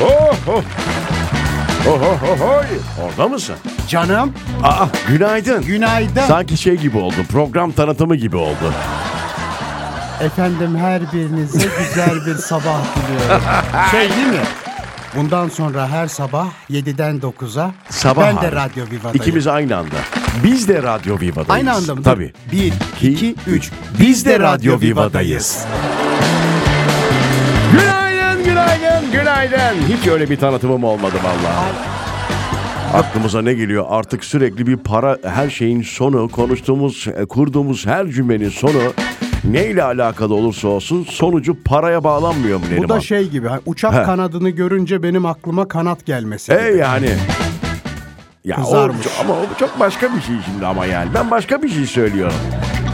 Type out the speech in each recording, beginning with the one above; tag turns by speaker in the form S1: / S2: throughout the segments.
S1: Oh. Oh, oh, oh, oh. Orada mısın?
S2: Canım
S1: Aa, günaydın.
S2: günaydın.
S1: Sanki şey gibi oldu. Program tanıtımı gibi oldu.
S2: Efendim her birinize güzel bir sabah diliyorum. Şey değil mi? Bundan sonra her sabah 7'den 9'a
S1: Sabah
S2: ben
S1: hali.
S2: de Radyo Viva'dayım.
S1: İkimiz aynı anda. Biz de Radyo Viva'dayız.
S2: Aynı anda mı?
S1: Tabii.
S2: 1, 2, 3.
S1: Biz de Radyo Viva'dayız. Günaydın, günaydın, günaydın. Hiç öyle bir tanıtımım olmadı vallahi. Aklımıza ne geliyor? Artık sürekli bir para, her şeyin sonu, konuştuğumuz, e, kurduğumuz her cümlenin sonu neyle alakalı olursa olsun sonucu paraya bağlanmıyor mu
S2: Bu
S1: Neriman?
S2: da şey gibi ha, uçak
S1: He.
S2: kanadını görünce benim aklıma kanat gelmesi.
S1: E yani. Ya o,
S2: Kızarmış.
S1: çok- ama o çok başka bir şey şimdi ama yani. Ben başka bir şey söylüyorum.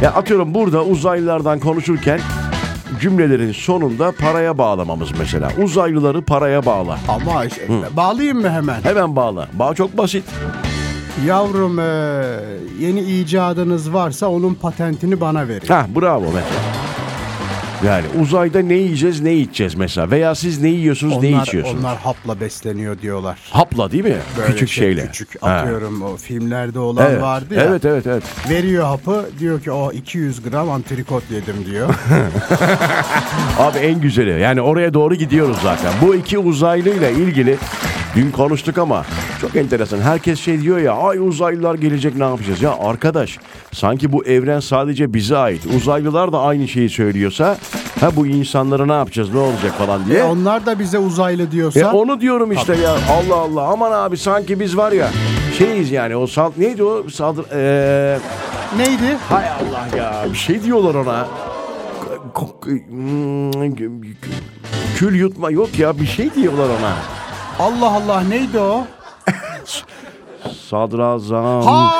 S1: Ya atıyorum burada uzaylılardan konuşurken cümlelerin sonunda paraya bağlamamız mesela. Uzaylıları paraya bağla.
S2: Ama işte, bağlayayım mı hemen?
S1: Hemen bağla. Bağ çok basit.
S2: Yavrum e, yeni icadınız varsa onun patentini bana verin.
S1: Ha bravo mesela. Yani uzayda ne yiyeceğiz ne içeceğiz mesela. Veya siz ne yiyorsunuz ne
S2: Onlar,
S1: içiyorsunuz.
S2: onlar hapla besleniyor diyorlar.
S1: Hapla değil mi?
S2: Böyle
S1: küçük
S2: şey,
S1: şeyle.
S2: Küçük
S1: Ha.
S2: atıyorum o filmlerde olan
S1: Evet.
S2: vardı ya.
S1: evet evet evet.
S2: Veriyor hapı diyor ki o 200 gram antrikot yedim diyor.
S1: Abi en güzeli. Yani oraya doğru gidiyoruz zaten. Bu iki uzaylıyla ilgili dün konuştuk ama çok enteresan. Herkes şey diyor ya ay uzaylılar gelecek ne yapacağız? Ya arkadaş sanki bu evren sadece bize ait. Uzaylılar da aynı şeyi söylüyorsa ha bu insanları ne yapacağız ne olacak falan diye.
S2: e onlar da bize uzaylı diyorsa
S1: E onu diyorum işte ya Allah Allah aman abi sanki biz var ya şeyiz yani o sal neydi o saldır eee
S2: neydi?
S1: hay Allah ya bir şey diyorlar ona K- k- hmm, kül yutma yok ya bir şey diyorlar ona
S2: Allah Allah neydi o?
S1: sadrazam
S2: Ha!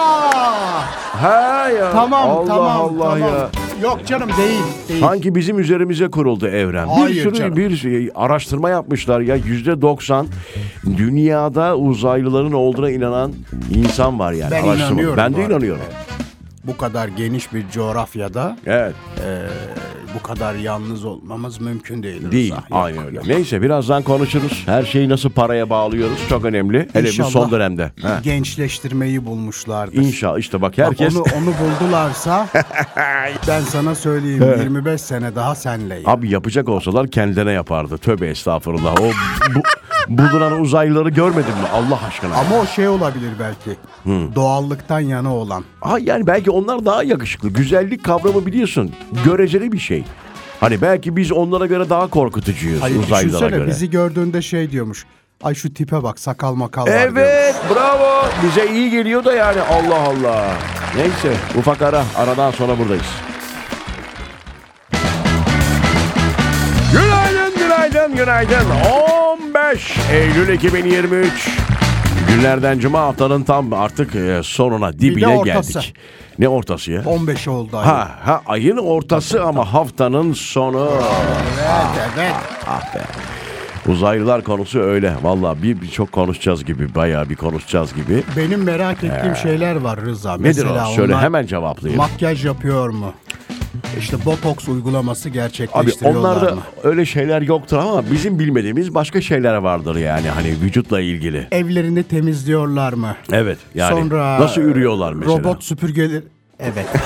S1: ha ya
S2: Tamam
S1: Allah
S2: tamam
S1: Allah
S2: tamam.
S1: ya
S2: Yok canım değil. değil.
S1: Sanki bizim üzerimize kuruldu evren. bir
S2: Hayır
S1: sürü
S2: canım.
S1: bir şey- araştırma yapmışlar ya yüzde 90 dünyada uzaylıların olduğuna inanan insan var yani.
S2: Ben
S1: araştırma.
S2: inanıyorum
S1: Ben
S2: bu
S1: de
S2: arada.
S1: inanıyorum.
S2: Bu kadar geniş bir coğrafyada
S1: Evet.
S2: bu kadar yalnız olmamız mümkün değil.
S1: Değil.
S2: Rıza. Yok,
S1: Aynen öyle.
S2: yok.
S1: Neyse birazdan konuşuruz. Her şeyi nasıl paraya bağlıyoruz çok önemli. Hele bir
S2: İnşallah.
S1: son dönemde. Ha.
S2: Gençleştirmeyi bulmuşlardır.
S1: İnşallah işte bak
S2: Bak
S1: herkes...
S2: onu, onu buldularsa ben sana söyleyeyim 25 sene daha senleyim.
S1: Abi yapacak olsalar kendilerine yapardı. Tövbe estağfurullah. O bu, bulunan uzaylıları görmedin mi Allah aşkına?
S2: Ama o şey olabilir belki. Doğallıktan yana olan.
S1: Ha yani belki onlar daha yakışıklı. Güzellik kavramı biliyorsun. Göreceli bir şey. Hani belki biz onlara göre daha korkutucuyuz
S2: Hayır
S1: uzaylılara
S2: düşünsene
S1: göre.
S2: bizi gördüğünde şey diyormuş. Ay şu tipe bak sakal makal var diyormuş.
S1: Evet bravo. Bize iyi geliyor da yani Allah Allah. Neyse ufak ara. Aradan sonra buradayız. Günaydın günaydın günaydın. 15 Eylül 2023. Günlerden cuma haftanın tam artık e, sonuna dibine
S2: ortası.
S1: geldik. Ne ortası ya?
S2: 15 oldu ay.
S1: Ha, ha ayın ortası ama haftanın sonu.
S2: Evet evet.
S1: Ah be. Uzaylılar konusu öyle. Valla bir, bir çok konuşacağız gibi. Bayağı bir konuşacağız gibi.
S2: Benim merak ettiğim şeyler var Rıza.
S1: Nedir
S2: Mesela
S1: o? Söyle
S2: onlar
S1: hemen cevaplayayım.
S2: Makyaj yapıyor mu? İşte botoks uygulaması
S1: Abi
S2: gerçekleştiriyorlar
S1: onlarda
S2: mı?
S1: öyle şeyler yoktur ama bizim bilmediğimiz başka şeyler vardır yani hani vücutla ilgili.
S2: Evlerini temizliyorlar mı?
S1: Evet yani
S2: Sonra
S1: nasıl ürüyorlar mesela?
S2: Robot süpürgeleri. Evet.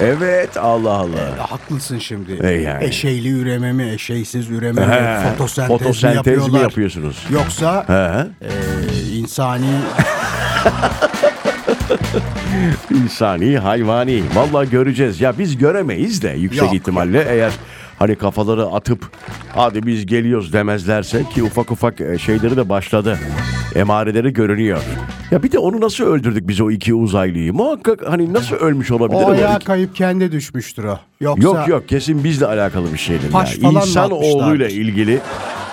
S1: Evet Allah Allah.
S2: Haklısın şimdi.
S1: E yani.
S2: Eşeyli üreme mi, eşeysiz üreme
S1: He,
S2: mi, fotosentez, mi
S1: fotosentez mi
S2: yapıyorlar?
S1: yapıyorsunuz?
S2: Yoksa
S1: He?
S2: e, insani
S1: İnsani, hayvani. Vallahi göreceğiz. Ya biz göremeyiz de yüksek
S2: Yok.
S1: ihtimalle eğer hani kafaları atıp hadi biz geliyoruz demezlerse ki ufak ufak e, şeyleri de başladı. Emareleri görünüyor. Ya bir de onu nasıl öldürdük biz o iki uzaylıyı? Muhakkak hani nasıl ölmüş olabilir?
S2: o
S1: bu
S2: ayağa
S1: iki-
S2: kayıp kendi düşmüştür o. Yoksa
S1: Yok yok kesin bizle alakalı bir şeydir.
S2: Taş
S1: ya.
S2: falan mı
S1: İnsan oğluyla
S2: atmışlardır?
S1: ilgili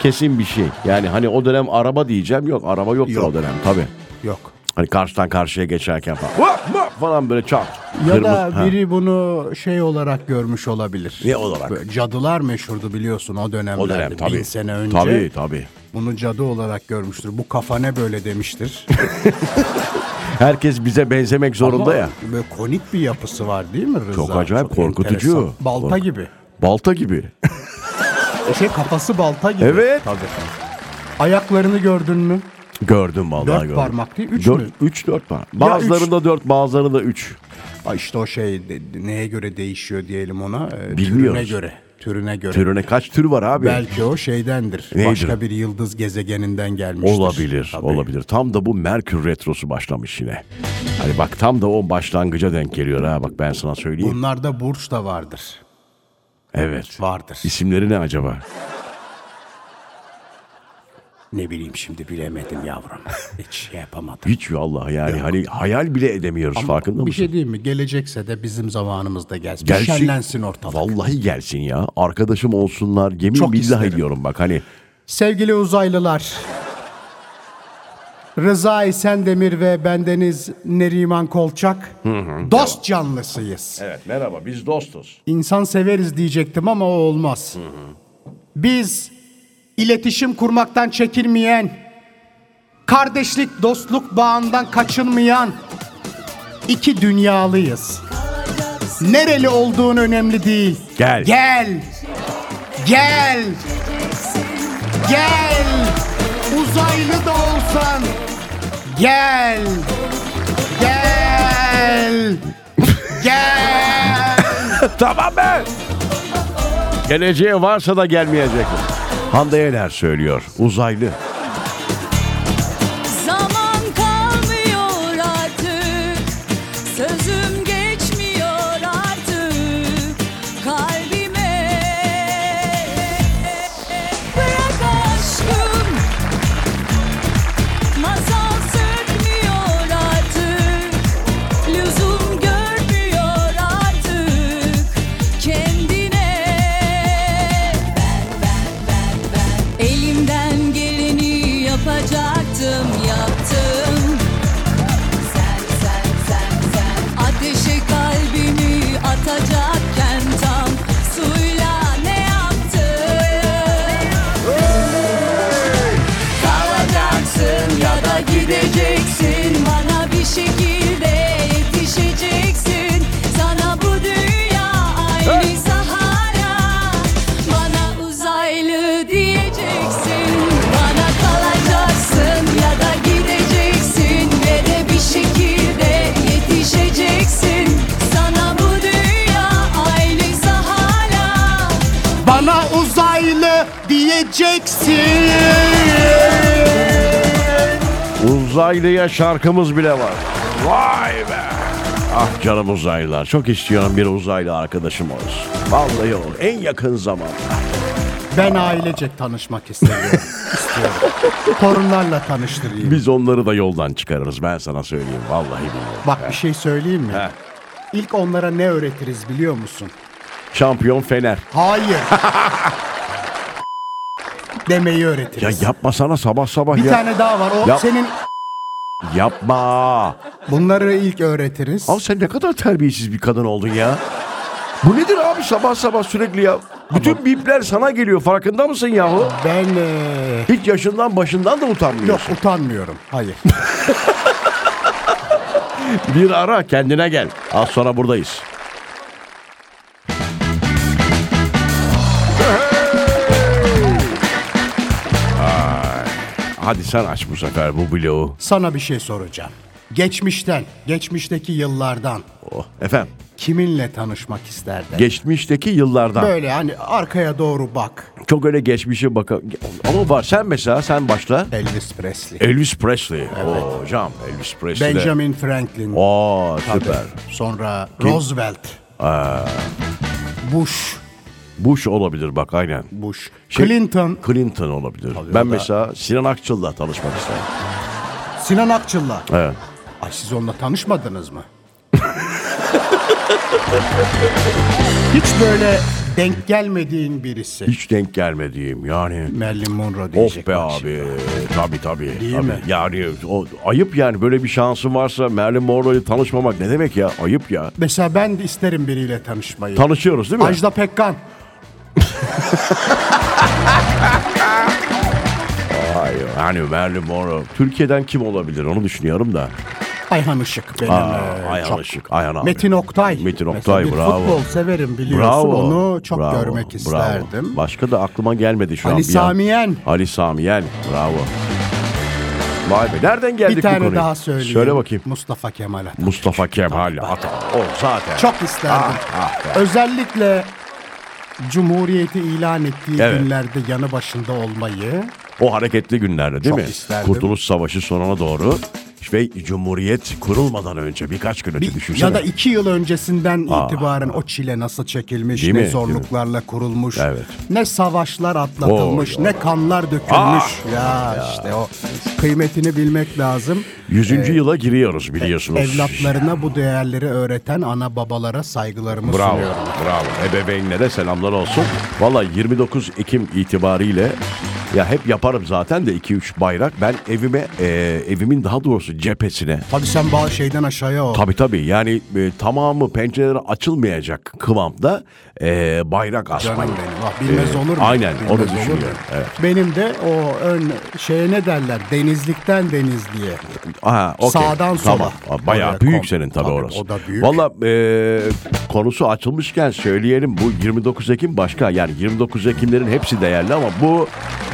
S1: kesin bir şey. Yani hani o dönem araba diyeceğim yok araba yoktur
S2: Yok.
S1: o dönem tabii.
S2: yok.
S1: Hani karşıdan karşıya geçerken falan. Hop, hop falan böyle çat.
S2: Ya
S1: Kırmızı-
S2: da
S1: Ha.
S2: biri bunu şey olarak görmüş olabilir.
S1: Ne olarak?
S2: Böyle cadılar meşhurdu biliyorsun o dönemlerde.
S1: O dönem tabii.
S2: Bin sene önce.
S1: Tabii tabii.
S2: Bunu cadı olarak görmüştür. Bu kafa ne böyle demiştir.
S1: Herkes bize benzemek zorunda
S2: Ama
S1: ya.
S2: Böyle konik bir yapısı var değil mi Rıza?
S1: Çok acayip, korkutucu.
S2: enteresan. Balta
S1: Kork-
S2: gibi.
S1: Balta gibi.
S2: Şey kafası balta gibi.
S1: Evet.
S2: Tabii. Ayaklarını gördün mü?
S1: Gördüm vallahi
S2: Dört
S1: gördüm.
S2: parmak değil, üç
S1: Dört-
S2: mü?
S1: Üç dört parmak. Bazılarında dört bazılarında üç.
S2: Ha işte o şey de- neye göre değişiyor diyelim ona. e, Türüne
S1: Bilmiyoruz.
S2: göre. Türüne göre.
S1: Türüne kaç tür var abi?
S2: Belki o şeydendir.
S1: Neydir?
S2: Başka bir yıldız gezegeninden gelmiştir.
S1: Olabilir,
S2: Tabii.
S1: olabilir. Tam da bu Merkür Retrosu başlamış yine. Hani bak tam da o başlangıca denk geliyor ha. Bak ben sana söyleyeyim.
S2: Bunlarda burç da vardır.
S1: Evet.
S2: Vardır.
S1: İsimleri ne acaba?
S2: Ne bileyim şimdi bilemedim yavrum. Hiç şey yapamadım.
S1: Hiç vallahi yani hani hayal bile edemiyoruz farkında
S2: bir
S1: mısın?
S2: şey diyeyim mi? Gelecekse de bizim zamanımızda gelsin.
S1: Gelsin.
S2: Şenlensin ortalık.
S1: Vallahi gelsin ya. Arkadaşım olsunlar. Yemin
S2: Çok
S1: billah
S2: isterim.
S1: ediyorum bak hani.
S2: Sevgili uzaylılar. Rıza Demir ve bendeniz Neriman Kolçak. dost canlısıyız.
S1: Evet merhaba biz dostuz.
S2: İnsan severiz diyecektim ama o olmaz. Biz iletişim kurmaktan çekinmeyen, kardeşlik, dostluk bağından kaçınmayan iki dünyalıyız. Nereli olduğun önemli değil.
S1: Gel.
S2: Gel. Gel. Gel. Uzaylı da olsan gel. Gel. Gel.
S1: tamam be. Geleceğe varsa da gelmeyecek. Hande Yener söylüyor. Uzaylı.
S3: Zaman kalmıyor artık Sözüm geçmiyor artık Kalbime Bırak aşkım Masal sökmüyor artık Lüzum görmüyor artık Kendine Ben, ben, ben, ben Elimden geleni yapacaktım Yaptım Sen, sen, sen, sen Ateşe kalbimi atacakken tam Suyla ne yaptın? Kalacaksın ya da gideceksin Bana bir şekilde yetişeceksin Sana bu dünya aynıysa hala Bana uzaylı diyeceksin Bana kalacaksın ya da gideceksin Ve de bir şekilde yetişeceksin Sana bu dünya aynıysa hala
S2: Bana uzaylı diyeceksin.
S1: Uzaylıya şarkımız bile var. Vay be. Ah canım uzaylılar. Çok istiyorum bir uzaylı arkadaşım olsun. Vallahi olur. En yakın zamanda.
S2: Ben ailecek tanışmak istiyorum. istiyorum. Torunlarla tanıştırayım.
S1: Biz onları da yoldan çıkarırız. Ben sana söyleyeyim. Vallahi billahi.
S2: Bak bir şey söyleyeyim mi?
S1: Heh.
S2: İlk onlara ne öğretiriz biliyor musun?
S1: Şampiyon Fener.
S2: Hayır. Demeyi öğretiriz.
S1: Ya yapmasana sabah sabah
S2: bir
S1: ya.
S2: tane daha var. O
S1: Yap.
S2: senin
S1: Yapma.
S2: bunları ilk öğretiriz.
S1: Al sen ne kadar terbiyesiz bir kadın oldun ya. Bu nedir abi sabah sabah sürekli ya? Bütün bipler sana geliyor farkında mısın yahu?
S2: Ben eee,
S1: Hiç yaşından başından da
S2: yok
S1: utanmıyorsun.
S2: utanmıyorum. Hayır.
S1: Bir ara kendine gel. Az sonra buradayız. Ay, Hadi sen aç bu sefer bu bloğu.
S2: Sana bir şey soracağım. Geçmişten, geçmişteki yıllardan
S1: Oh, efendim
S2: kiminle tanışmak isterdin?
S1: geçmişteki yıllardan.
S2: Böyle hani arkaya doğru bak.
S1: Çok öyle geçmişe baka... Ama var sen mesela sen başla.
S2: Elvis Presley.
S1: Elvis Presley. Oo, hocam Elvis Presley. de-
S2: Benjamin Franklin.
S1: Oo
S2: Tabii.
S1: süper.
S2: Sonra Roosevelt. Bush.
S1: Bush olabilir bak aynen.
S2: Bush.
S1: Şey-
S2: Clinton.
S1: Clinton olabilir.
S2: Tabii, o
S1: ben
S2: da-
S1: mesela Sinan Akçıl'la tanışmak isterim.
S2: Sinan Akçıl'la.
S1: Evet.
S2: Ay siz onunla tanışmadınız mı? Hiç böyle denk gelmediğin birisi.
S1: Hiç denk gelmediğim yani.
S2: Marilyn Monroe
S1: Of
S2: diyecek.
S1: be
S2: bak şimdi.
S1: abi. Tabii tabii.
S2: Değil
S1: tabii.
S2: mi?
S1: Yani o, ayıp yani böyle bir şansın varsa Marilyn Monroe'yla tanışmamak ne demek ya? Ayıp ya.
S2: Mesela ben de isterim biriyle tanışmayı.
S1: Tanışıyoruz değil mi?
S2: Ajda Pekkan.
S1: Ay, yani Marilyn Monroe. Türkiye'den kim olabilir onu düşünüyorum da.
S2: Ayhan Işık benim. e,
S1: Ayhan
S2: çok.
S1: Işık, Ayhan abi.
S2: Metin Oktay.
S1: Metin
S2: Mesela
S1: Oktay,
S2: bir
S1: bravo.
S2: Futbol severim biliyorsun
S1: Bravo.
S2: onu çok
S1: bravo,
S2: görmek
S1: bravo.
S2: isterdim.
S1: Başka da aklıma gelmedi şu an.
S2: Ali
S1: bir an.
S2: Samiyen.
S1: Ali Samiyen. Bravo. Vay be. Nereden geldik bu
S2: Bir tane
S1: konuya?
S2: daha söyleyeyim.
S1: Söyle bakayım.
S2: Mustafa Kemal Atatürk.
S1: Mustafa Kemal Atatürk. O zaten. Ah,
S2: Çok isterdim. Özellikle Cumhuriyeti ilan ettiği
S1: Evet.
S2: günlerde yanı başında olmayı
S1: O hareketli günlerde değil
S2: Çok
S1: mi?
S2: isterdim.
S1: Kurtuluş Savaşı sonuna doğru ve Cumhuriyet kurulmadan önce birkaç gün önce
S2: Bir-
S1: düşünsene.
S2: ya da iki yıl öncesinden itibaren o çile nasıl çekilmiş,
S1: Değil
S2: ne
S1: mi?
S2: zorluklarla kurulmuş,
S1: Evet.
S2: ne savaşlar atlatılmış,
S1: Oy,
S2: ne kanlar dökülmüş. ya, işte o kıymetini bilmek lazım.
S1: Yüzüncü
S2: Ee,
S1: yıla giriyoruz biliyorsunuz.
S2: Evlatlarına bu değerleri öğreten ana babalara saygılarımı
S1: Bravo,
S2: sunuyorum.
S1: bravo. Ebeveynlere selamlar olsun. Valla 29 Ekim itibariyle ya hep yaparım zaten de 2-3 bayrak. Ben evime, e, evimin daha doğrusu cephesine.
S2: Tabii sen bağ şeyden aşağıya o.
S1: Tabii tabii yani e, tamamı pencereleri açılmayacak kıvamda e, bayrak
S2: Canım
S1: asmayı.
S2: benim. Ah, bilmez
S1: Ee,
S2: olur mu?
S1: aynen,
S2: Bilmez
S1: onu
S2: olur mu?
S1: düşünüyorum, evet.
S2: Benim de o ön şeye ne derler? Denizlikten denizliye.
S1: Aha, okey.
S2: Sağdan
S1: Tamam.
S2: sola.
S1: Aa, Bayağı
S2: Oraya
S1: büyük
S2: kom-
S1: senin tabii,
S2: tabii,
S1: orası.
S2: o da büyük.
S1: Valla e, konusu açılmışken söyleyelim bu 29 Ekim başka yani 29 Ekimlerin hepsi değerli ama bu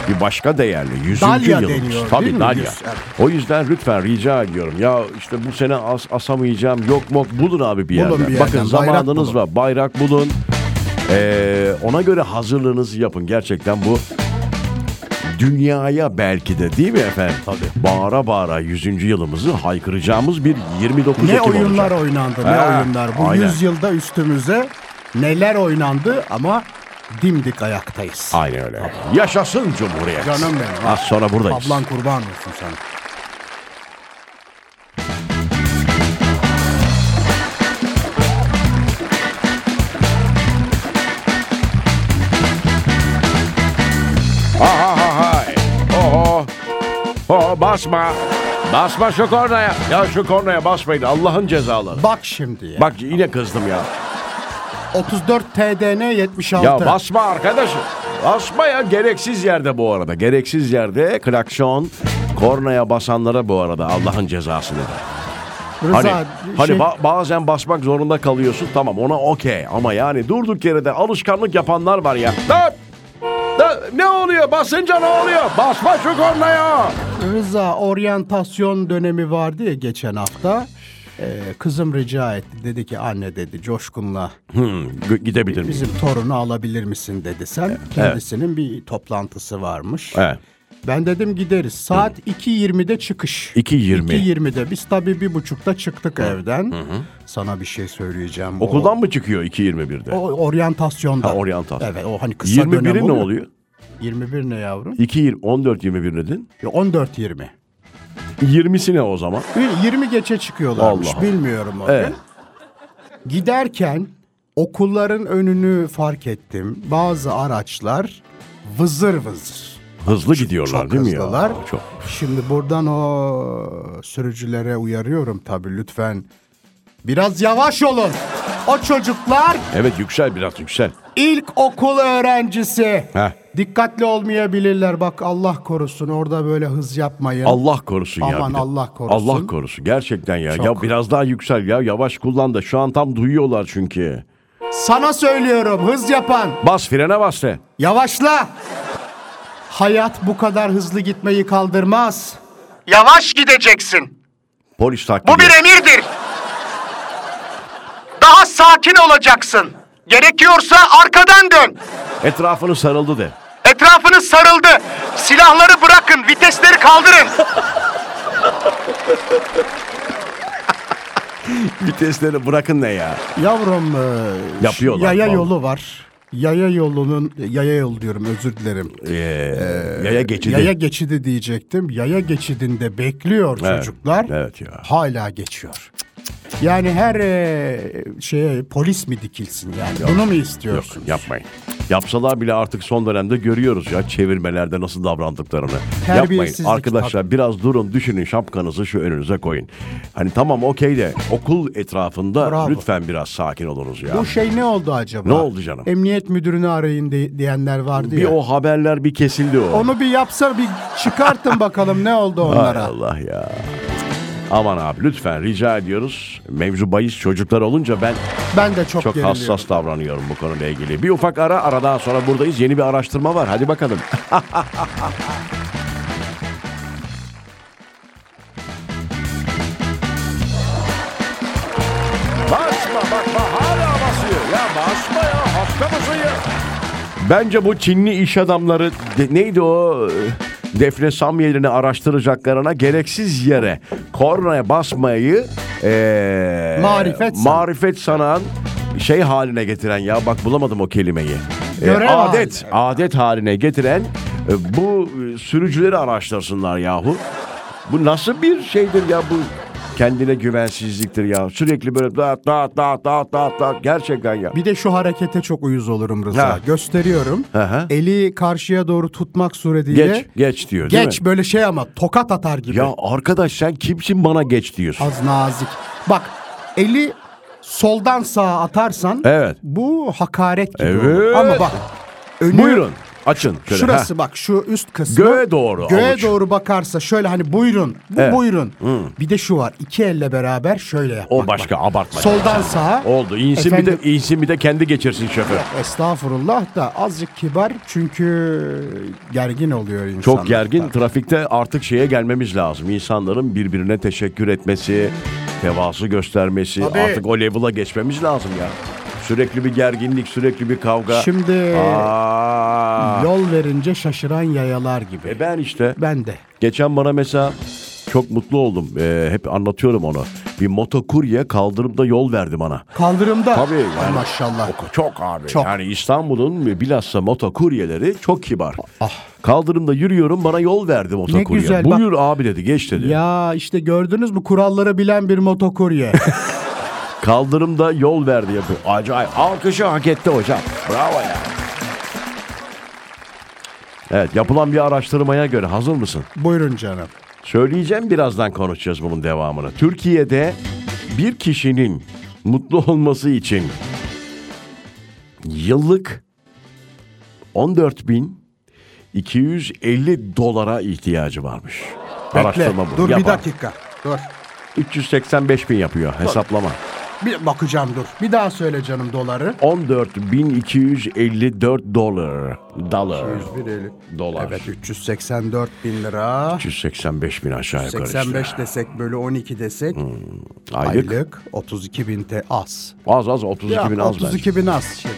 S1: bir başka değerli. 100.
S2: Dalya
S1: yılımız.
S2: deniyor,
S1: Tabii
S2: değil mi?
S1: Dalya.
S2: Yüz, evet.
S1: O yüzden lütfen rica ediyorum. Ya işte bu sene as, asamayacağım yok mok bulun abi bir yerden.
S2: Bulun bir yerden,
S1: Bakın
S2: bayrak
S1: zamanınız
S2: bulun.
S1: var bayrak bulun. Ee, ona göre hazırlığınızı yapın. Gerçekten bu dünyaya belki de değil mi efendim? Tabii. Bağıra bağıra 100. yılımızı haykıracağımız bir 29
S2: Ne
S1: Ekim
S2: oyunlar
S1: olacak.
S2: oynandı, ne
S1: Ha,
S2: oyunlar. Bu
S1: aynen.
S2: yüzyılda üstümüze neler oynandı ama dimdik ayaktayız.
S1: Aynen öyle. Yaşasın Cumhuriyet.
S2: Canım benim.
S1: Az sonra buradayız.
S2: Ablan kurban olsun sana.
S1: Ha ha ha ha. Oho. Oho basma. Basma şu kornaya. Ya şu kornaya basmayın Allah'ın cezaları.
S2: Bak şimdi ya.
S1: Bak yine kızdım ya.
S2: 34 TDN 76.
S1: Ya basma arkadaşım. Basma ya gereksiz yerde bu arada. Gereksiz yerde klakson kornaya basanlara bu arada Allah'ın cezasını. Hani,
S2: Rıza,
S1: hani
S2: şey-
S1: ba- bazen basmak zorunda kalıyorsun tamam ona okey ama yani durduk yere de alışkanlık yapanlar var ya. Da, da, ne oluyor basınca ne oluyor? Basma şu kornaya.
S2: Rıza oryantasyon dönemi vardı ya geçen hafta. Ee, kızım rica etti. Dedi ki anne dedi coşkunla
S1: G- gidebilir miyim?
S2: bizim torunu alabilir misin dedi sen. Kendisinin bir toplantısı varmış.
S1: Evet.
S2: Ben dedim gideriz. Saat 2.20'de çıkış.
S1: 2.20.
S2: 2.20'de. Biz tabii bir buçukta çıktık evden. Sana bir şey söyleyeceğim.
S1: Okuldan mı çıkıyor 2.21'de?
S2: O, o oryantasyonda.
S1: Ha, oryantasyon.
S2: Evet o hani kısa dönem
S1: 21'i ne oluyor?
S2: 21 ne yavrum?
S1: 2 14 21 dedin.
S2: Ya 14.20.
S1: 20'si ne o zaman?
S2: Bir 20 geçe çıkıyorlarmış.
S1: Allah.
S2: Bilmiyorum o
S1: Evet.
S2: gün. Giderken okulların önünü fark ettim. Bazı araçlar vızır vızır.
S1: Hızlı gidiyorlar
S2: Çok
S1: değil mi
S2: hızlılar.
S1: ya? Çok.
S2: Şimdi buradan o sürücülere uyarıyorum tabii lütfen. Biraz yavaş olun. O çocuklar
S1: Evet yüksel biraz yüksel.
S2: ilk okul öğrencisi.
S1: Heh.
S2: Dikkatli olmayabilirler. Bak Allah korusun orada böyle hız yapmayın.
S1: Allah korusun ya.
S2: Aman
S1: bir de.
S2: Allah korusun.
S1: Allah korusun gerçekten ya.
S2: Çok.
S1: Ya biraz daha yüksel ya yavaş kullan da şu an tam duyuyorlar çünkü.
S2: Sana söylüyorum hız yapan.
S1: Bas frene bas de.
S2: Yavaşla. Hayat bu kadar hızlı gitmeyi kaldırmaz.
S4: Yavaş gideceksin.
S1: Polis takip
S4: Bu bir emirdir. Daha sakin olacaksın. Gerekiyorsa arkadan dön.
S1: Etrafını sarıldı de.
S4: Etrafınız sarıldı. Silahları bırakın, vitesleri kaldırın.
S1: Vitesleri bırakın ne ya.
S2: Yavrum e, şu
S1: Yapıyorlar
S2: yaya
S1: vallahi.
S2: yolu var. Yaya yolunun yaya yol diyorum özür dilerim.
S1: Ee, yaya geçidi.
S2: Yaya geçidi diyecektim. Yaya geçidinde bekliyor
S1: Evet,
S2: çocuklar.
S1: evet ya.
S2: Hala geçiyor. Yani her e, şeye polis mi dikilsin yani? Bunu mu
S1: Yok
S2: istiyorsun?
S1: yapmayın. Yapsalar bile artık son dönemde görüyoruz ya çevirmelerde nasıl davrandıklarını. Yapmayın
S2: Terbiyesizlik
S1: arkadaşlar biraz durun düşünün şapkanızı şu önünüze koyun. Hani tamam okey de okul etrafında
S2: Bravo.
S1: lütfen biraz sakin olunuz ya.
S2: Bu şey ne oldu acaba?
S1: Ne oldu canım?
S2: Emniyet müdürünü arayın de- diyenler vardı
S1: Bir
S2: ya.
S1: o haberler bir kesildi o.
S2: Onu bir yapsa bir çıkartın bakalım ne oldu
S1: Hay
S2: onlara.
S1: Allah ya. Aman abi lütfen rica ediyoruz. Mevzu bahis çocuklar olunca ben
S2: Ben de çok,
S1: çok
S2: geriliyorum.
S1: hassas davranıyorum bu konuyla ilgili. Bir ufak ara aradan sonra buradayız. Yeni bir araştırma var. Hadi bakalım. Basma basma hala basıyor. Ya basma ya hasta mısın ya? Bence bu Çinli iş adamları de- neydi o e, Defne Samyeli'ni araştıracaklarına gereksiz yere kornaya basmayı e,
S2: Marifet san-
S1: marifet sanan şey haline getiren ya bak bulamadım o kelimeyi. E,
S2: Görev
S1: adet adet haline getiren e, bu e, sürücüleri araştırsınlar yahu. Bu nasıl bir şeydir ya bu kendine güvensizliktir ya. Sürekli böyle dağıt dağıt dağıt dağıt dağıt dağıt gerçekten ya.
S2: Bir de şu harekete çok uyuz olurum Rıza.
S1: Ha.
S2: Gösteriyorum.
S1: Hı hı.
S2: Eli karşıya doğru tutmak suretiyle.
S1: Geç geç diyor değil mi?
S2: Geç böyle şey ama tokat atar gibi.
S1: Ya arkadaş sen kimsin bana geç diyorsun.
S2: Az nazik. Bak eli soldan sağa atarsan
S1: Evet.
S2: bu hakaret gibi
S1: Evet.
S2: olur. Ama bak önü
S1: Buyurun açın. Şöyle,
S2: şurası
S1: ha.
S2: bak şu üst kısmı.
S1: Göğe doğru
S2: Göğe
S1: avuç.
S2: doğru bakarsa şöyle hani buyurun. Bu
S1: Evet.
S2: buyurun. Bir de şu var. iki elle beraber şöyle yap.
S1: O
S2: bak,
S1: başka
S2: bak.
S1: abartma.
S2: Soldan sağa.
S1: Oldu. İnsin bir
S2: Efendim-
S1: de insin bir de kendi geçirsin şoför.
S2: Estağfurullah da azıcık kibar çünkü gergin oluyor insanlar.
S1: Çok gergin. Trafikte artık şeye gelmemiz lazım. İnsanların birbirine teşekkür etmesi, tevazu göstermesi.
S2: Tabii.
S1: Artık o level'a geçmemiz lazım ya. Sürekli bir gerginlik, sürekli bir kavga.
S2: Şimdi
S1: Aa.
S2: yol verince şaşıran yayalar gibi.
S1: E ben işte.
S2: Ben de.
S1: Geçen bana mesela çok mutlu oldum. Ee, hep anlatıyorum onu. Bir motokurye kaldırımda yol verdi bana.
S2: Kaldırımda.
S1: Tabii yani.
S2: Maşallah.
S1: Çok, çok abi.
S2: Çok.
S1: Yani İstanbul'un bilhassa motokuryeleri çok kibar. Kaldırımda yürüyorum bana yol verdi motokurye.
S2: Ah. güzel, bak.
S1: Buyur abi dedi geç dedi.
S2: Ya işte gördünüz mü kuralları bilen bir motokurye.
S1: Kaldırımda yol verdi yapıyor. Acayip. Alkışı hak etti hocam. Bravo ya. Evet yapılan bir araştırmaya göre hazır mısın?
S2: Buyurun canım.
S1: Söyleyeceğim birazdan konuşacağız bunun devamını. Türkiye'de bir kişinin mutlu olması için yıllık 14.250 dolara ihtiyacı varmış.
S2: Bekle.
S1: Araştırma bu.
S2: Dur bir
S1: Yapan.
S2: dakika. Dur.
S1: 385 bin yapıyor hesaplama.
S2: Bir bakacağım dur. Bir daha söyle canım doları.
S1: 14.254 dolar. Dolar.
S2: 150.
S1: Dolar.
S2: Evet 384 bin lira.
S1: 385 bin aşağı yukarı işte.
S2: 85 desek bölü 12 desek
S1: Hmm. Aylık.
S2: aylık 32 bin te az.
S1: Az az 32
S2: Ya,
S1: bin az bence.
S2: 32 bin az şimdi.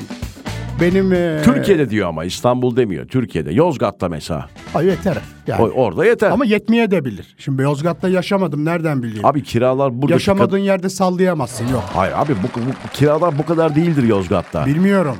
S2: Benim e,
S1: Türkiye'de diyor ama İstanbul demiyor. Türkiye'de. Yozgat'ta mesela.
S2: Ay yeter. Yani.
S1: O- orada yeter.
S2: Ama yetmeye de bilir. Şimdi Yozgat'ta yaşamadım nereden bileyim?
S1: abi kiralar burada.
S2: Yaşamadığın yerde sallayamazsın yok.
S1: Hayır abi bu, bu- kiralar bu kadar değildir Yozgat'ta.
S2: Bilmiyorum.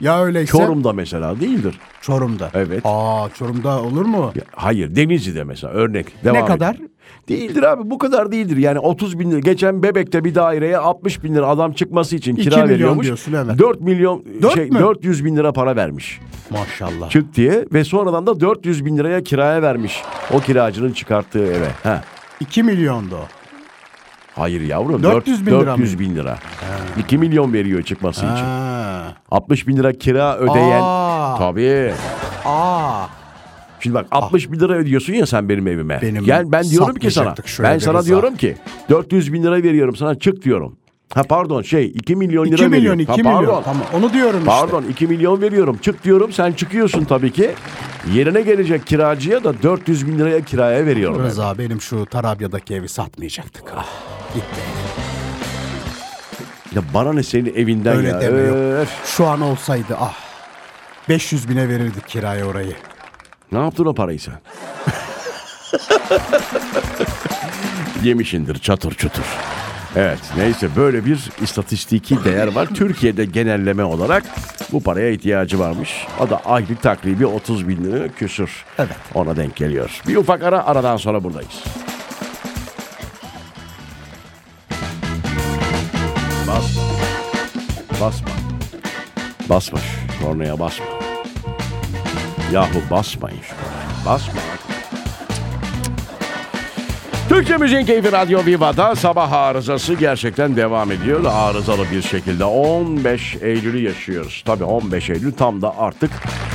S2: Ya öyleyse
S1: Çorum'da mesela değildir.
S2: Çorum'da.
S1: Hmm. Evet.
S2: Aa Çorum'da olur mu?
S1: Hayır Denizli'de mesela örnek. Devam
S2: kadar?
S1: edelim. Değildir abi bu kadar değildir. Yani 30 bin lira. Geçen Bebek'te bir daireye 60 bin lira adam çıkması için
S2: İki
S1: kira
S2: milyon
S1: veriyormuş.
S2: diyorsun, evet.
S1: 4 milyon
S2: Dört
S1: şey,
S2: mü?
S1: 400 bin lira para vermiş.
S2: Maşallah.
S1: Çık diye ve sonradan da 400 bin liraya kiraya vermiş. O kiracının çıkarttığı eve. Ha.
S2: 2 milyondu. o.
S1: Hayır yavrum.
S2: 400 bin lira mı?
S1: 400 bin lira. 2 milyon veriyor çıkması için.
S2: Ha.
S1: 60 bin lira kira ödeyen.
S2: Aa.
S1: Tabii.
S2: Aa.
S1: Şimdi bak 60 bin lira ödüyorsun ya sen benim evime.
S2: Benim
S1: Gel ben diyorum ki sana.
S2: saklayacaktık şöyle
S1: Ben
S2: bir
S1: sana
S2: rıza.
S1: diyorum ki 400 bin lira veriyorum sana çık diyorum. Ha pardon şey 2 milyon lira
S2: 2 milyon
S1: veriyorum.
S2: 2
S1: Ha,
S2: milyon.
S1: pardon.
S2: Tamam onu diyorum işte.
S1: Pardon 2 milyon veriyorum çık diyorum sen çıkıyorsun tabii ki. Yerine gelecek kiracıya da 400 bin liraya kiraya veriyorum.
S2: Rıza benim şu Tarabya'daki evi satmayacaktık. Ah, gitti.
S1: Ya bana ne senin evinden
S2: Ah, Öyle
S1: ya.
S2: deme yok.
S1: Öf.
S2: Şu an olsaydı ah. 500 bine verirdik kiraya orayı.
S1: Ne yaptın o parayı sen? Yemişindir çatır çutur. Evet neyse böyle bir istatistiki değer var. Türkiye'de genelleme olarak bu paraya ihtiyacı varmış. O da aylık takribi 30 bin lira küsür.
S2: Evet.
S1: Ona denk geliyor. Bir ufak ara aradan sonra buradayız. Basma. Basma. Basma. şu Kornaya basma. Yahu basmayın şu kornaya. Basma. Türkçe Müziğin Keyfi Radyo Viva'da sabah arızası gerçekten devam ediyor. Arızalı bir şekilde 15 Eylül'ü yaşıyoruz. Tabii 15 Eylül tam da artık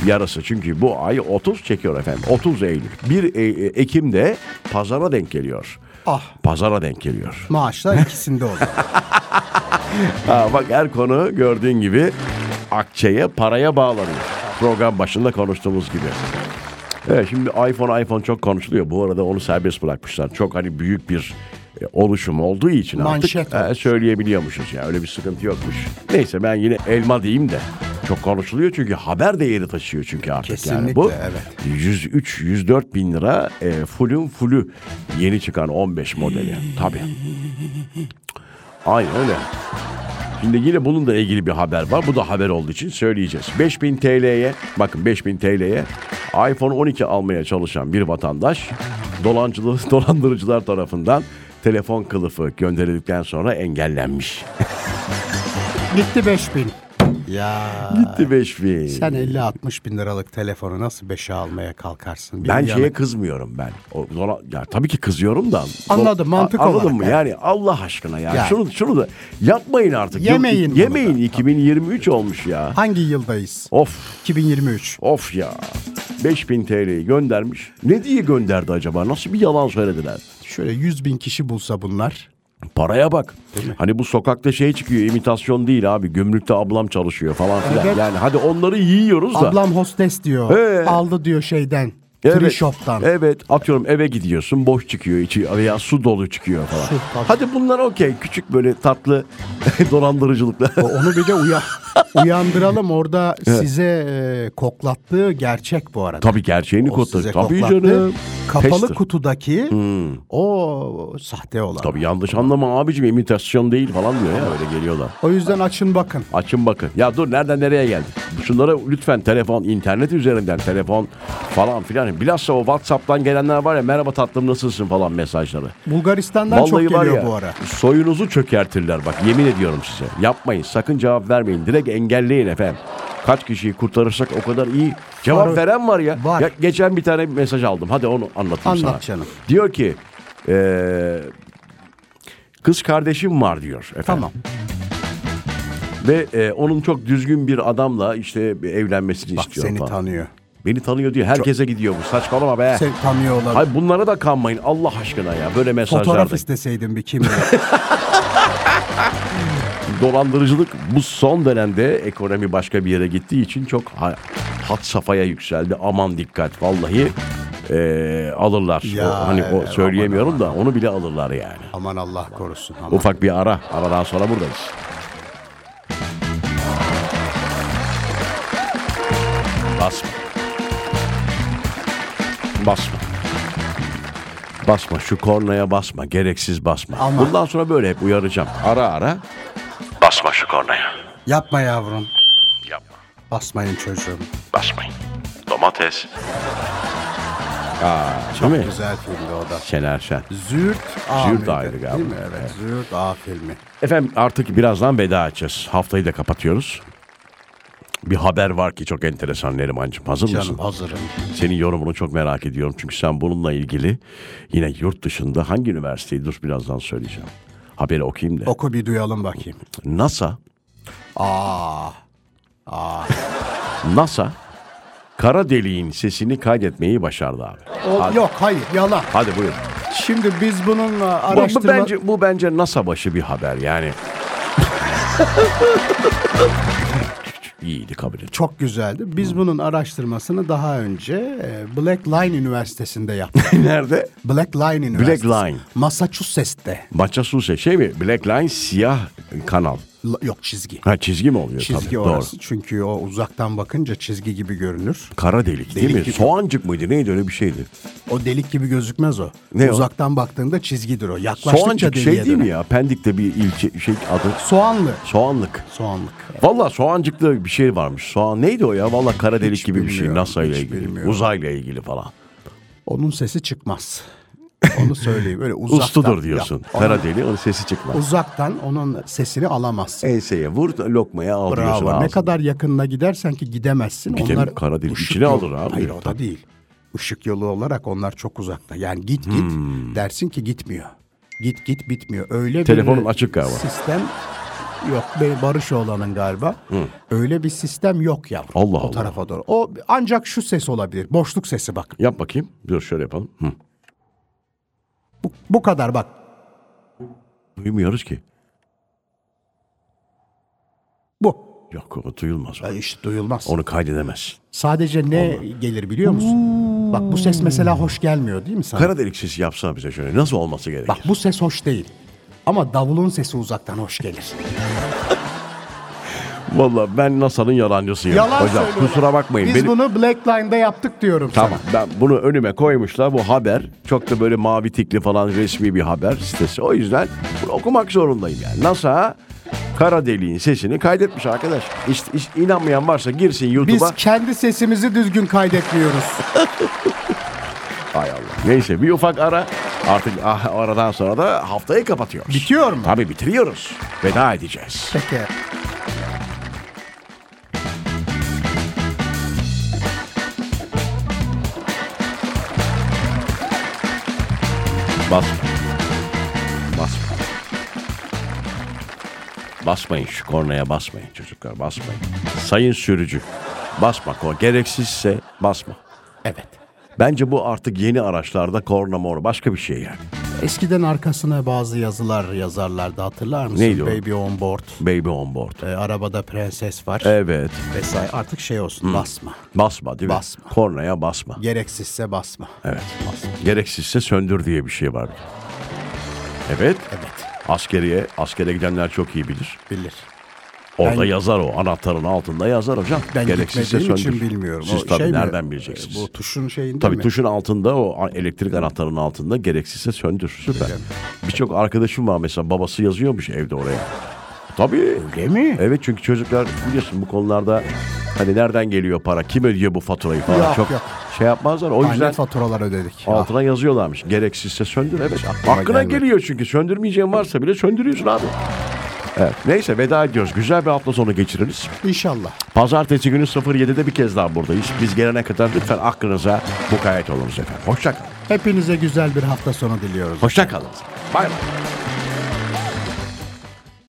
S1: yarısı. Çünkü bu ay 30 çekiyor efendim. 30 Eylül. 1 E- E- Ekim'de pazara denk geliyor.
S2: Ah
S1: Pazara denk geliyor.
S2: maaşlar ikisinde olur.
S1: Ha, bak her konu gördüğün gibi akçeye, paraya bağlanıyor. Program başında konuştuğumuz gibi. Evet şimdi iPhone iPhone çok konuşuluyor. Bu arada onu serbest bırakmışlar. Çok hani büyük bir e, oluşum olduğu için
S2: Manşet
S1: artık e,
S2: olmuş.
S1: söyleyebiliyormuşuz ya. Öyle bir sıkıntı yokmuş. Neyse ben yine elma diyeyim de. Çok konuşuluyor çünkü haber değeri taşıyor çünkü artık yani
S2: Kesinlikle,
S1: bu.
S2: evet.
S1: 103 104 bin lira e, full'ün full'ü yeni çıkan 15 modeli. Tabii. Aynen öyle. Şimdi yine bununla ilgili bir haber var. Bu da haber olduğu için söyleyeceğiz. 5000 TL'ye, bakın 5000 TL'ye iPhone 12 almaya çalışan bir vatandaş dolancılı, dolandırıcılar tarafından telefon kılıfı gönderildikten sonra engellenmiş.
S2: Gitti 5000. Ya
S1: Gitti 5000.
S2: sen 50-60 bin liralık telefonu nasıl 5'e almaya kalkarsın? Benim
S1: Ben
S2: yanım-
S1: şeye kızmıyorum ben. O, dola- ya tabii ki kızıyorum da.
S2: Anladım,
S1: Do-
S2: mantık
S1: a- Anladın
S2: olarak
S1: mı?
S2: yani.
S1: Yani Allah aşkına ya.
S2: Yani.
S1: Şunu şunu da yapmayın artık. Yok,
S2: Yemeyin bunu
S1: Yemeyin
S2: da.
S1: 2023 olmuş ya.
S2: Hangi yıldayız?
S1: Of.
S2: 2023.
S1: Of ya. 5000 TL'yi göndermiş. Ne diye gönderdi acaba? Nasıl bir yalan söylediler?
S2: Şöyle 100 bin kişi bulsa bunlar.
S1: Paraya bak. Hani bu sokakta şey çıkıyor imitasyon değil abi. Gümrükte ablam çalışıyor falan filan.
S2: Evet.
S1: Yani hadi onları yiyoruz da.
S2: Ablam hostes diyor.
S1: Ee?
S2: Aldı diyor şeyden.
S1: Evet.
S2: Free shop'tan.
S1: Evet atıyorum eve gidiyorsun boş çıkıyor içi veya su dolu çıkıyor falan.
S2: Su, tabii.
S1: Hadi bunlar okey küçük böyle tatlı dolandırıcılıklar.
S2: Onu bir de uya uyandıralım. Orada size e, koklattığı gerçek bu arada.
S1: Tabii gerçeğini
S2: O
S1: kotladı.
S2: size
S1: Tabii
S2: koklattı.
S1: canım.
S2: Kapalı
S1: Tester.
S2: kutudaki o sahte olan.
S1: Tabii yanlış anlama abicim imitasyon değil falan diyor ya öyle geliyorlar.
S2: O yüzden açın bakın.
S1: Açın bakın. Ya dur nereden nereye geldik? Şunlara lütfen telefon, internet üzerinden telefon falan filan. Bilhassa o WhatsApp'tan gelenler var ya merhaba tatlım nasılsın falan mesajları.
S2: Bulgaristan'dan çok
S1: Vallahi var
S2: geliyor
S1: ya
S2: bu ara.
S1: soyunuzu çökertirler bak yemin ediyorum size. Yapmayın sakın cevap vermeyin. Direkt engelleyin efendim. Kaç kişiyi kurtarırsak o kadar iyi. Cevap
S2: Var.
S1: veren var ya.
S2: Var.
S1: ya. Geçen bir tane mesaj aldım. Hadi onu anlatayım sana.
S2: Anlat canım.
S1: Diyor ki eee, kız kardeşim var diyor efendim.
S2: Tamam.
S1: Ve e, onun çok düzgün bir adamla işte bir evlenmesini
S2: Bak
S1: istiyor
S2: seni
S1: falan.
S2: tanıyor.
S1: Beni tanıyor diyor. Herkese gidiyor bu. Saçmalama be.
S2: Seni tanıyor olabilir.
S1: Hayır bunlara da kanmayın Allah aşkına ya. Böyle
S2: Fotoğraf
S1: mesajlarda.
S2: isteseydin bir kimle.
S1: Dolandırıcılık bu son dönemde ekonomi başka bir yere gittiği için çok ha- hat safhaya yükseldi. Aman dikkat vallahi e, alırlar.
S2: Ya,
S1: O- hani o
S2: evet,
S1: söyleyemiyorum da onu bile alırlar yani.
S2: aman Allah korusun. Aman.
S1: Ufak bir ara. Aradan sonra buradayız. Basma. Basma. Basma şu kornaya basma. Gereksiz basma.
S2: Ama-
S1: Bundan sonra böyle hep uyaracağım. Ara ara. Basma şu kornaya.
S2: Yapma yavrum.
S1: Yapma.
S2: Basmayın çocuğum.
S1: Basmayın. Domates. Aa, çok mi?
S2: Güzel filmdi o da.
S1: Şener Şen.
S2: Züğürt A
S1: Züğürt
S2: mıydı?
S1: Ayrı galiba.
S2: Değil mi? Evet. Züğürt A filmi.
S1: Efendim artık birazdan veda edeceğiz. Haftayı da kapatıyoruz. Bir haber var ki çok enteresan Neriman'cığım. Hazır
S2: Canım
S1: mısın?
S2: hazırım.
S1: Senin yorumunu çok merak ediyorum. Çünkü sen bununla ilgili yine yurt dışında hangi üniversiteyi dur birazdan söyleyeceğim. Haberi okuyayım da.
S2: Oku bir duyalım bakayım.
S1: NASA,
S2: Aa. Ah.
S1: NASA kara deliğin sesini kaydetmeyi başardı abi.
S2: O,
S1: Hadi.
S2: yok hayır yalan.
S1: Hadi buyurun.
S2: Şimdi biz bununla
S1: Bu- Bu,
S2: araştırma...
S1: bence, bu bence NASA başı bir haber yani. İyiydi kabul et.
S2: Çok güzeldi. Biz bunun araştırmasını daha önce e, Black Line Üniversitesi'nde yaptık.
S1: Nerede?
S2: Black Line Üniversitesi.
S1: Line.
S2: Massachusetts'te.
S1: Massachusetts şey mi? Black Line siyah kanal.
S2: L- yok çizgi.
S1: Ha çizgi mi oluyor? E,
S2: Çizgi
S1: Tabii,
S2: orası.
S1: Doğru.
S2: Çünkü o uzaktan bakınca çizgi gibi görünür.
S1: Kara delik değil
S2: Delik
S1: mi?
S2: gibi.
S1: Soğancık mıydı? Neydi öyle bir şeydi?
S2: O delik gibi gözükmez o.
S1: Ne o?
S2: uzaktan baktığında çizgidir o. Yaklaştıkça
S1: Soğancık
S2: deliğe
S1: şey değil mi
S2: döner.
S1: ya? Pendik'te bir ilçe şey adı.
S2: Soğanlı.
S1: Soğanlık.
S2: Soğanlık.
S1: Valla soğancıkta bir şey varmış. Soğan neydi o ya? Valla kara delik gibi bir şey.
S2: bilmiyorum,
S1: NASA ile
S2: hiç
S1: ilgili.
S2: bilmiyorum.
S1: Uzayla ilgili falan.
S2: Onun sesi çıkmaz. Onu söyleyeyim. Öyle uzaktan.
S1: Ustudur diyorsun.
S2: Ya,
S1: kara
S2: onun-
S1: deliği onun sesi çıkmaz.
S2: Uzaktan onun sesini alamazsın.
S1: Enseye vur lokmaya al diyorsun
S2: Bravo. Ne
S1: ağzına.
S2: kadar yakınına gidersen ki gidemezsin.
S1: Gidem-
S2: onlar
S1: kara delik
S2: ışık
S1: içine
S2: yolu-
S1: alır abi.
S2: Hayır o da değil. Işık yolu olarak onlar çok uzakta. Yani git git
S1: Hmm.
S2: dersin ki gitmiyor. Git git bitmiyor. Öyle
S1: Telefonun
S2: bir
S1: açık galiba.
S2: Sistem yok. Be- Barış oğlanın galiba. Öyle bir sistem yok yavrum.
S1: Allah
S2: o
S1: Allah.
S2: tarafa doğru. O ancak şu ses olabilir. Boşluk sesi bak.
S1: Yap bakayım. Dur şöyle yapalım. Hı.
S2: Bu, bu kadar bak.
S1: Duymuyoruz ki.
S2: Bu.
S1: Yok o duyulmaz. o.
S2: Ya işte duyulmaz.
S1: Onu kaydedemez.
S2: Sadece ne gelir biliyor musun? Bak bu ses mesela hoş gelmiyor değil mi sana?
S1: Kara delik sesi yapsana bize şöyle. Nasıl olması gerekir?
S2: Bak bu ses hoş değil. Ama davulun sesi uzaktan hoş gelir.
S1: Vallahi ben NASA'nın yalancısıyım.
S2: Yalan
S1: Hocam
S2: söylüyorlar.
S1: kusura bakmayın.
S2: Biz
S1: Benim-
S2: bunu Black Line'da yaptık diyorum
S1: Tamam ben bunu önüme koymuşlar bu haber. Çok da böyle mavi tikli falan resmi bir haber sitesi. O yüzden bunu okumak zorundayım yani. NASA kara deliğin sesini kaydetmiş arkadaş. İşte, iş- inanmayan varsa girsin
S2: Biz
S1: YouTube'a.
S2: kendi sesimizi düzgün kaydetmiyoruz.
S1: Hay Allah. Neyse bir ufak ara. Artık ah, aradan sonra da haftayı kapatıyoruz.
S2: Bitiyor mu?
S1: Tabii bitiriyoruz. Veda edeceğiz.
S2: Peki.
S1: Basma. Basma. Basmayın şu kornaya basmayın çocuklar basmayın. Sayın sürücü basma ko gereksizse basma.
S2: Evet.
S1: Bence bu artık yeni araçlarda korna mor başka bir şey yani.
S2: Eskiden arkasına bazı yazılar yazarlardı hatırlar mısın?
S1: Neydi o?
S2: Baby on board.
S1: Baby on board.
S2: e, arabada prenses var.
S1: Evet.
S2: Vesaire. Artık şey olsun basma.
S1: Basma değil mi?
S2: Basma.
S1: Kornaya basma.
S2: Gereksizse basma.
S1: Evet. Gereksizse söndür diye bir şey var. Evet.
S2: Evet.
S1: Askeriye, askere gidenler çok iyi bilir.
S2: Bilir.
S1: Orada
S2: Ben-
S1: yazar o. Anahtarın altında yazar hocam.
S2: Ben
S1: Gereksizse
S2: gitmediğim
S1: söndür.
S2: için bilmiyorum.
S1: Siz
S2: O
S1: tabii
S2: şey mi?
S1: nereden bileceksiniz?
S2: Bu tuşun şeyinde
S1: Tabii
S2: mi?
S1: tuşun altında o a- elektrik anahtarının altında gereksizse söndür. Süper. Birçok arkadaşım var mesela babası yazıyormuş evde oraya. Tabii.
S2: Öyle Şey mi?
S1: Evet çünkü çocuklar biliyorsun bu konularda hani nereden geliyor para, kim ödüyor bu faturayı falan
S2: Yok,
S1: çok
S2: yok.
S1: şey yapmazlar. O
S2: Ay, ne
S1: yüzden
S2: faturalar ödedik. Ah,
S1: altına yazıyorlarmış. Gereksizse söndür evet. Hakkına
S2: gelmedi.
S1: geliyor çünkü söndürmeyeceğin varsa bile söndürüyorsun abi. Evet. Neyse veda ediyoruz. Güzel bir hafta sonu geçiririz.
S2: İnşallah.
S1: Pazartesi günü 07'de bir kez daha buradayız. Biz gelene kadar lütfen aklınıza mukayyet olunuz efendim. Hoşça kalın.
S2: Hepinize güzel bir hafta sonu diliyoruz.
S1: Hoşça kalın. Bay bay.